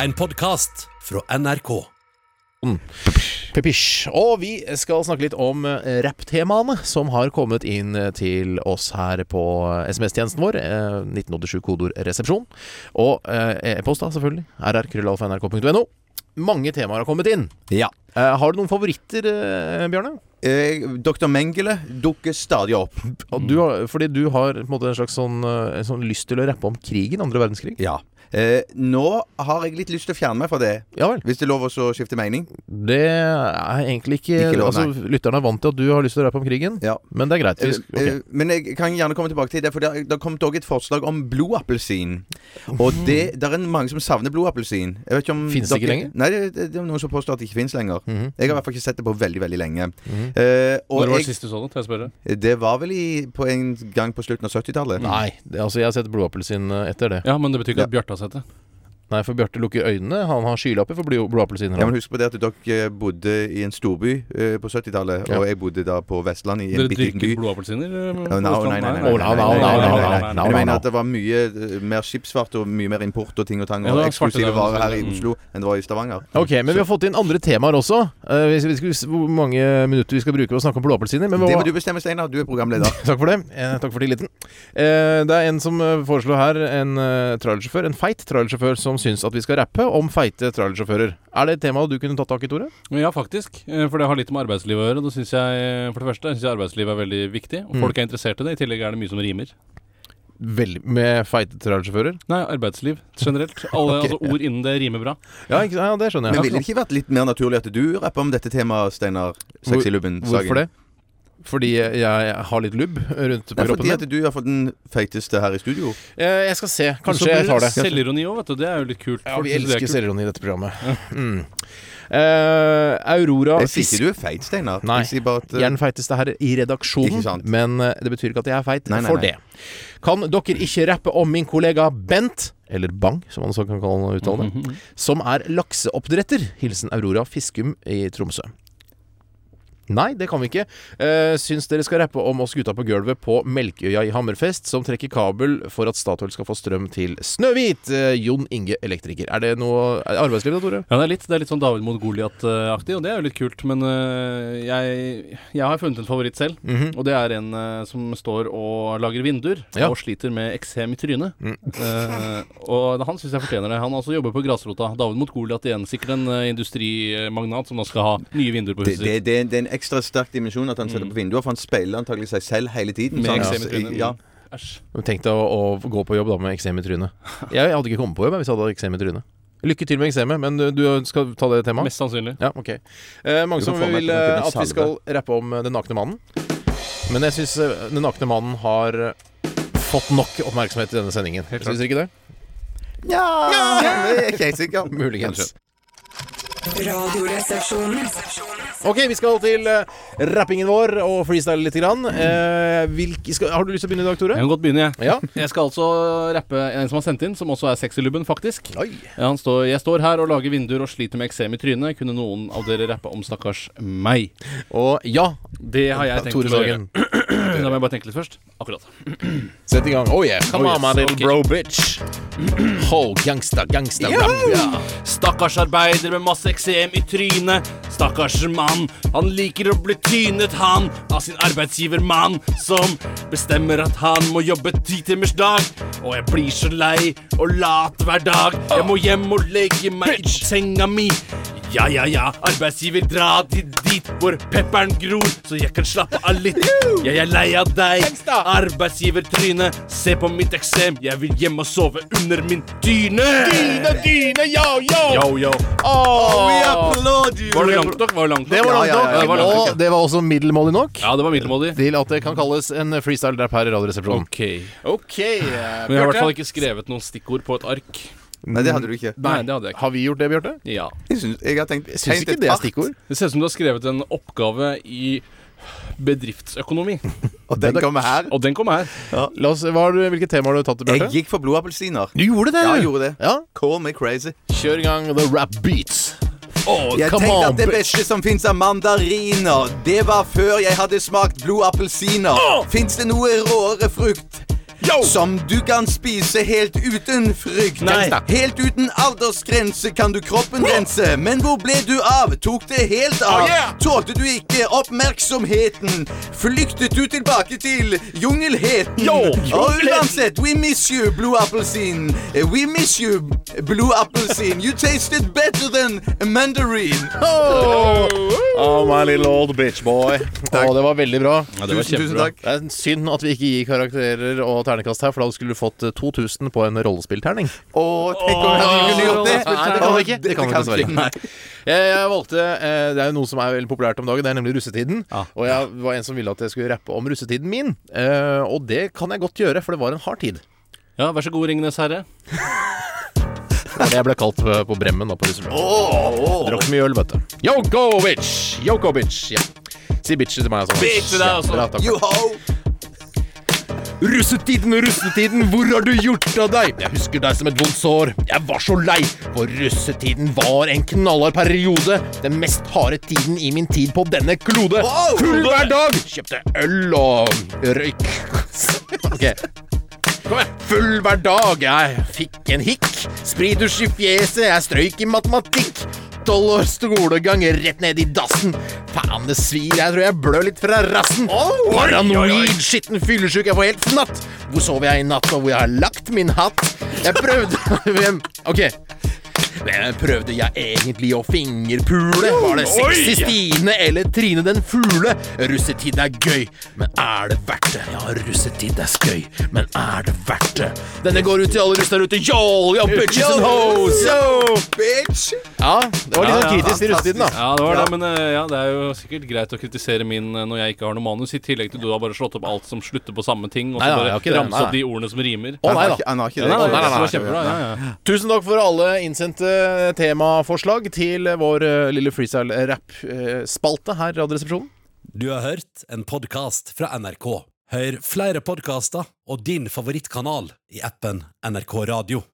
En podkast fra NRK. Pepish. Og vi skal snakke litt om eh, rapptemaene som har kommet inn eh, til oss her på eh, SMS-tjenesten vår. eh, 1987 kodord resepsjon. Og eh, e-post, da, selvfølgelig. rrkrøllalfa.nrk.no. Mange temaer har kommet inn. Ja. Eh, Har du noen favoritter, eh, Bjørne? Eh, Dr. Mengele dukker stadig opp. Og Du har, fordi du har på en måte en slags sånn, eh, en sånn lyst til å rappe om krigen, andre verdenskrig. Ja. Eh, nå har jeg litt lyst til å fjerne meg fra det. Ja vel. Hvis det er lov å så skifte mening? Det er egentlig ikke, Ikke lov, altså, Lytterne er vant til at du har lyst til å rappe om krigen, Ja. men det er greit. Vi, Eh, sk- ok. eh, Men jeg kan gjerne komme tilbake til det, for det har- det har kommet også et forslag om blodappelsin. Og det der er mange som savner blodappelsin. Jeg vet ikke om Finnes det ikke dere- lenger? Nei, det, det, det er noen som påstår at det ikke finnes lenger. Mhm. Jeg har i hvert fall ikke sett det på veldig, veldig lenge. Mhm. Eh, Når og var det jeg, Eh, sist du så det? Tør jeg spørre? det var vel i, på en gang på slutten av 70-tallet. Nei, det, altså jeg har sett blodappelsin eh, etter det. Ja, men det betyr ikke Mm. Ja. at Bjarte har sett det. Nei, for Bjarte lukker øynene. Han har skylapper for blod- blodappelsiner. Ja, men husk på det at dere bodde i en storby eh, på 70-tallet, Ja. og jeg bodde da på Vestlandet i en Dere bitte liten by. drikker blodappelsiner? eh, Nei, på nei, nei, Østlandet? Å, nei, nei, nei, nei, nei, nei, nei, nei, Men jeg nei, mener nei. at det var mye eh, mer skipsfart og mye mer import og ting og tang Ja, det og var eksklusive svarte varer damer, her i mm. Oslo enn det var i Stavanger. Mm. Ok, men vi har fått inn andre temaer også. Eh, hvis vi skulle, hvor mange minutter vi skal bruke på å snakke om blodappelsiner. Men Det hva, må du bestemme, Steinar. Du er programleder. Takk for det. Eh, takk for tilliten. Eh, det er en som eh, foreslår her en eh, trailersjåfør, en feit trailersjåfør, som syns at vi skal rappe om feite trailersjåfører. Er det et tema du kunne tatt tak i, Tore? Men Ja, faktisk. eh, For det har litt med arbeidslivet å gjøre. Da synes jeg, for det første synes jeg arbeidslivet er veldig viktig, og Mm. folk er interessert i det. I tillegg er det mye som rimer. Veldig med feite trailersjåfører? Nei, arbeidsliv generelt. Alle Ok, altså, ord innen det rimer bra. Ja, ikke, ja, det skjønner Men jeg. ville det ikke vært litt mer naturlig at du rapper om dette temaet, Steinar Hvorfor Sexylubben-sagen? det? Fordi jeg, jeg har litt lubb rundt på Nei, fordi kroppen. at du er for den feiteste her i studio. min. Eh, jeg skal se. Så Kanskje blir jeg tar det. Selvironi òg, vet du. Det er jo litt kult. Ja, Folk vi synes det er elsker kult. selvironi i dette programmet. Mm. Eh, Aurora Jeg sier Fisk ikke du er feit, Steinar. Nei. Jeg sier bare at eh, Jeg er den feiteste her i Ikke redaksjonen, sant. men eh, det betyr ikke at jeg er feit Nei, nei, for nei. det. Kan dere ikke rappe om min kollega Bent, eller Bang, som han også kan kalle han uttale, det, Mhm. som er lakseoppdretter? Hilsen Aurora Fiskum i Tromsø. Nei, det kan vi ikke. Uh, syns dere skal rappe om oss gutta på gulvet på Melkøya i Hammerfest, som trekker kabel for at Statoil skal få strøm til Snøhvit. Eh, Jon Inge Elektriker. Er det noe er det arbeidsliv da, Tore? Ja, det er litt, det er litt sånn David mot Goliat-aktig, og det er jo litt kult. Men eh, jeg, jeg har funnet en favoritt selv. Mhm. Og det er en eh, som står og lager vinduer Ja. og sliter med eksem i trynet. Eh, og det- han syns jeg fortjener det. Han altså jobber på grasrota. David mot Goliat igjen. Sikkert en eh, industrimagnat som da skal ha nye vinduer på det, huset det, sitt. det, det er en ekstra sterk dimensjon at han setter på vinduer, for han speiler antakelig seg selv hele tiden. Med så han- eksem i trynet. Ja. Æsj. Tenk deg å, å gå på jobb da med eksem i trynet. Jeg hadde ikke kommet på jobb jeg, hvis jeg hadde eksem i trynet. Lykke til med eksemet, men eh, du, du skal ta det temaet? Mest sannsynlig. Ja, ok. Eh, mange Du kan som få meg vil til å kunne eh, at vi salve. skal rappe om eh, Den nakne mannen. Men jeg syns Den nakne mannen har eh, fått nok oppmerksomhet i denne sendingen. Syns dere ikke det? Ja, det er ikke helt sikker. Muligens. Radioresepsjonen. Ok, vi skal til eh, rappingen vår og freestyle lite grann. Eh, hvilke, skal, har du lyst til å begynne i dag, Jeg Tore? kan godt begynne, jeg. Ja. Jeg skal altså rappe en som har sendt inn, som også er sexylubben, faktisk. Oi. Ja, Han står, jeg står her og lager vinduer og sliter med eksem i trynet. Kunne noen av dere rappe om stakkars meg? Og ja, Det har jeg tenkt Tore å gjøre. Sagen. Da må jeg bare tenke litt først. Akkurat. Sett i gang. Oh yeah. Come Oh on, my yes, little ok. bro bitch. Ho, gangsta, gangsta rap. Ja. Stakkars arbeider med masse eksem i trynet. Stakkars mann, han liker å bli tynet, han, av sin arbeidsgiver mann, som bestemmer at han må jobbe ti timers dag. Og jeg blir så lei og lat hver dag. Jeg må hjem og legge meg i senga mi. Ja, ja, ja, arbeidsgiver, dra til dit hvor pepperen gror, så jeg kan slappe av litt. Jeg er lei av deg, arbeidsgivertryne. Se på mitt eksem, jeg vil hjem og sove under min dyne. Dyne, dyne, yo, yo. Yo, yo. Åh. Var det langt nok? Var det langt nok? Det var langt Ja, ja, ja, ja, det var nok. langt nok, ja. Og det var også middelmådig nok. Ja, det var middelmådig. Til at det kan kalles en freestyle-rap her i Radioresepsjonen. Ok. Ok, eh, Men jeg har i hvert fall Bjarte. ikke skrevet noen stikkord på et ark. Nei, det hadde du ikke. Nei, det hadde jeg ikke. Har vi gjort det, Bjarte? Ja. Jeg, syns, jeg har tenkt Syns tenkt ikke et det er fart. stikkord. Det ser ut som du har skrevet en oppgave i bedriftsøkonomi. Og den kommer her. Og den kom her. La oss, hva har du, hvilke temaer har du tatt, Jeg Bjarte? gikk for blodappelsiner. Du gjorde det, Ja, jeg du. gjorde det. Ja. Call me crazy. Kjør i gang the rap beats. Oh, Jeg come on, tenkte at det bitch. beste som fins av mandariner, det var før jeg hadde smakt blodappelsiner. Fins det noe råere frukt Yo! Som du kan spise helt uten frykt. Nei. Helt uten aldersgrense kan du kroppen rense. Men hvor ble du av? Tok det helt av? Oh, yeah! Tålte du ikke oppmerksomheten? Flyktet du tilbake til jungelheten? Yo! Og uansett, we miss you, Blue Appelsin. We miss you, Blue Appelsin. You tasted better than mandarin. Oh, my little old bitch boy. Å, det var veldig bra. Ja, det var Tusen, tusen kjempebra. takk. Det er en synd at vi ikke gir karakterer og ternekast her, for da skulle du fått eh, 2000 på en rollespillterning. Og tenk om jeg kunne gjort det. Nei, det kan vi ikke. Åh, Det kan vi vi dessverre. ikke. Jeg, jeg valgte eh, Det er jo noe som er veldig populært om dagen, det er nemlig russetiden. Ja. Og jeg var en som ville at jeg skulle rappe om russetiden min. Eh, og det kan jeg godt gjøre, for det var en hard tid. Ja, vær så god, Ringenes herre. Det var det jeg ble kalt eh, på Bremmen da på russeplassen. Drakk mye øl, vet du. Yoko bitch! Yoko bitch! Ja. Si bitch til meg, altså. Bitch til deg Ja, også. bra, takk. You ho! Russetiden, russetiden, hvor har du gjort av deg? Jeg husker deg som et vondt sår. Jeg var så lei, for russetiden var en knallhard periode. Den mest harde tiden i min tid på denne klode. Wow! Full hver dag! Kjøpte øl og røyk. Ok. Kom igjen. Full hver dag, jeg fikk en hikk. Spridusj i fjeset, jeg strøyk i matematikk. Tolv års skolegang rett ned i dassen. Faen, det svir, jeg tror jeg blør litt fra rassen. Paranoid, skitten fyllesyk, jeg får helt fnatt. Hvor sov jeg i natt, og hvor jeg har lagt min hatt? Jeg prøvde Hvem? Ok. Hvem Eh, prøvde jeg egentlig å fingerpule? Var det sexy Stine eller Trine den fugle? Russetid er gøy, men er det verdt det? Ja, russetid er skøy, men er det verdt det? Denne går ut til alle russ der ute. Yo, yo, bitches and hoes! Yo! Bitch! Ja, det var litt sånn Ja, ja, kritisk til russetiden, da. Ja, det var det, men eh, ja, det er jo sikkert greit å kritisere min eh, når jeg ikke har noe manus, i tillegg til du har bare slått opp alt som slutter på samme ting, og Nei, så nei, jeg bare har ikke det. ramse Nei, opp de ordene som rimer. Å, Han nei har da. ikke- han har ikke Ja, nei, nei, nei, det nei, var nei. kjempebra. Ja, ja. Tusen takk for alle innsendte temaforslag til vår eh, lille freestyle-rapp-spalte her, i Radioresepsjonen. Du har hørt en podcast fra NRK. Hør flere podcaster og din favorittkanal i appen NRK Radio.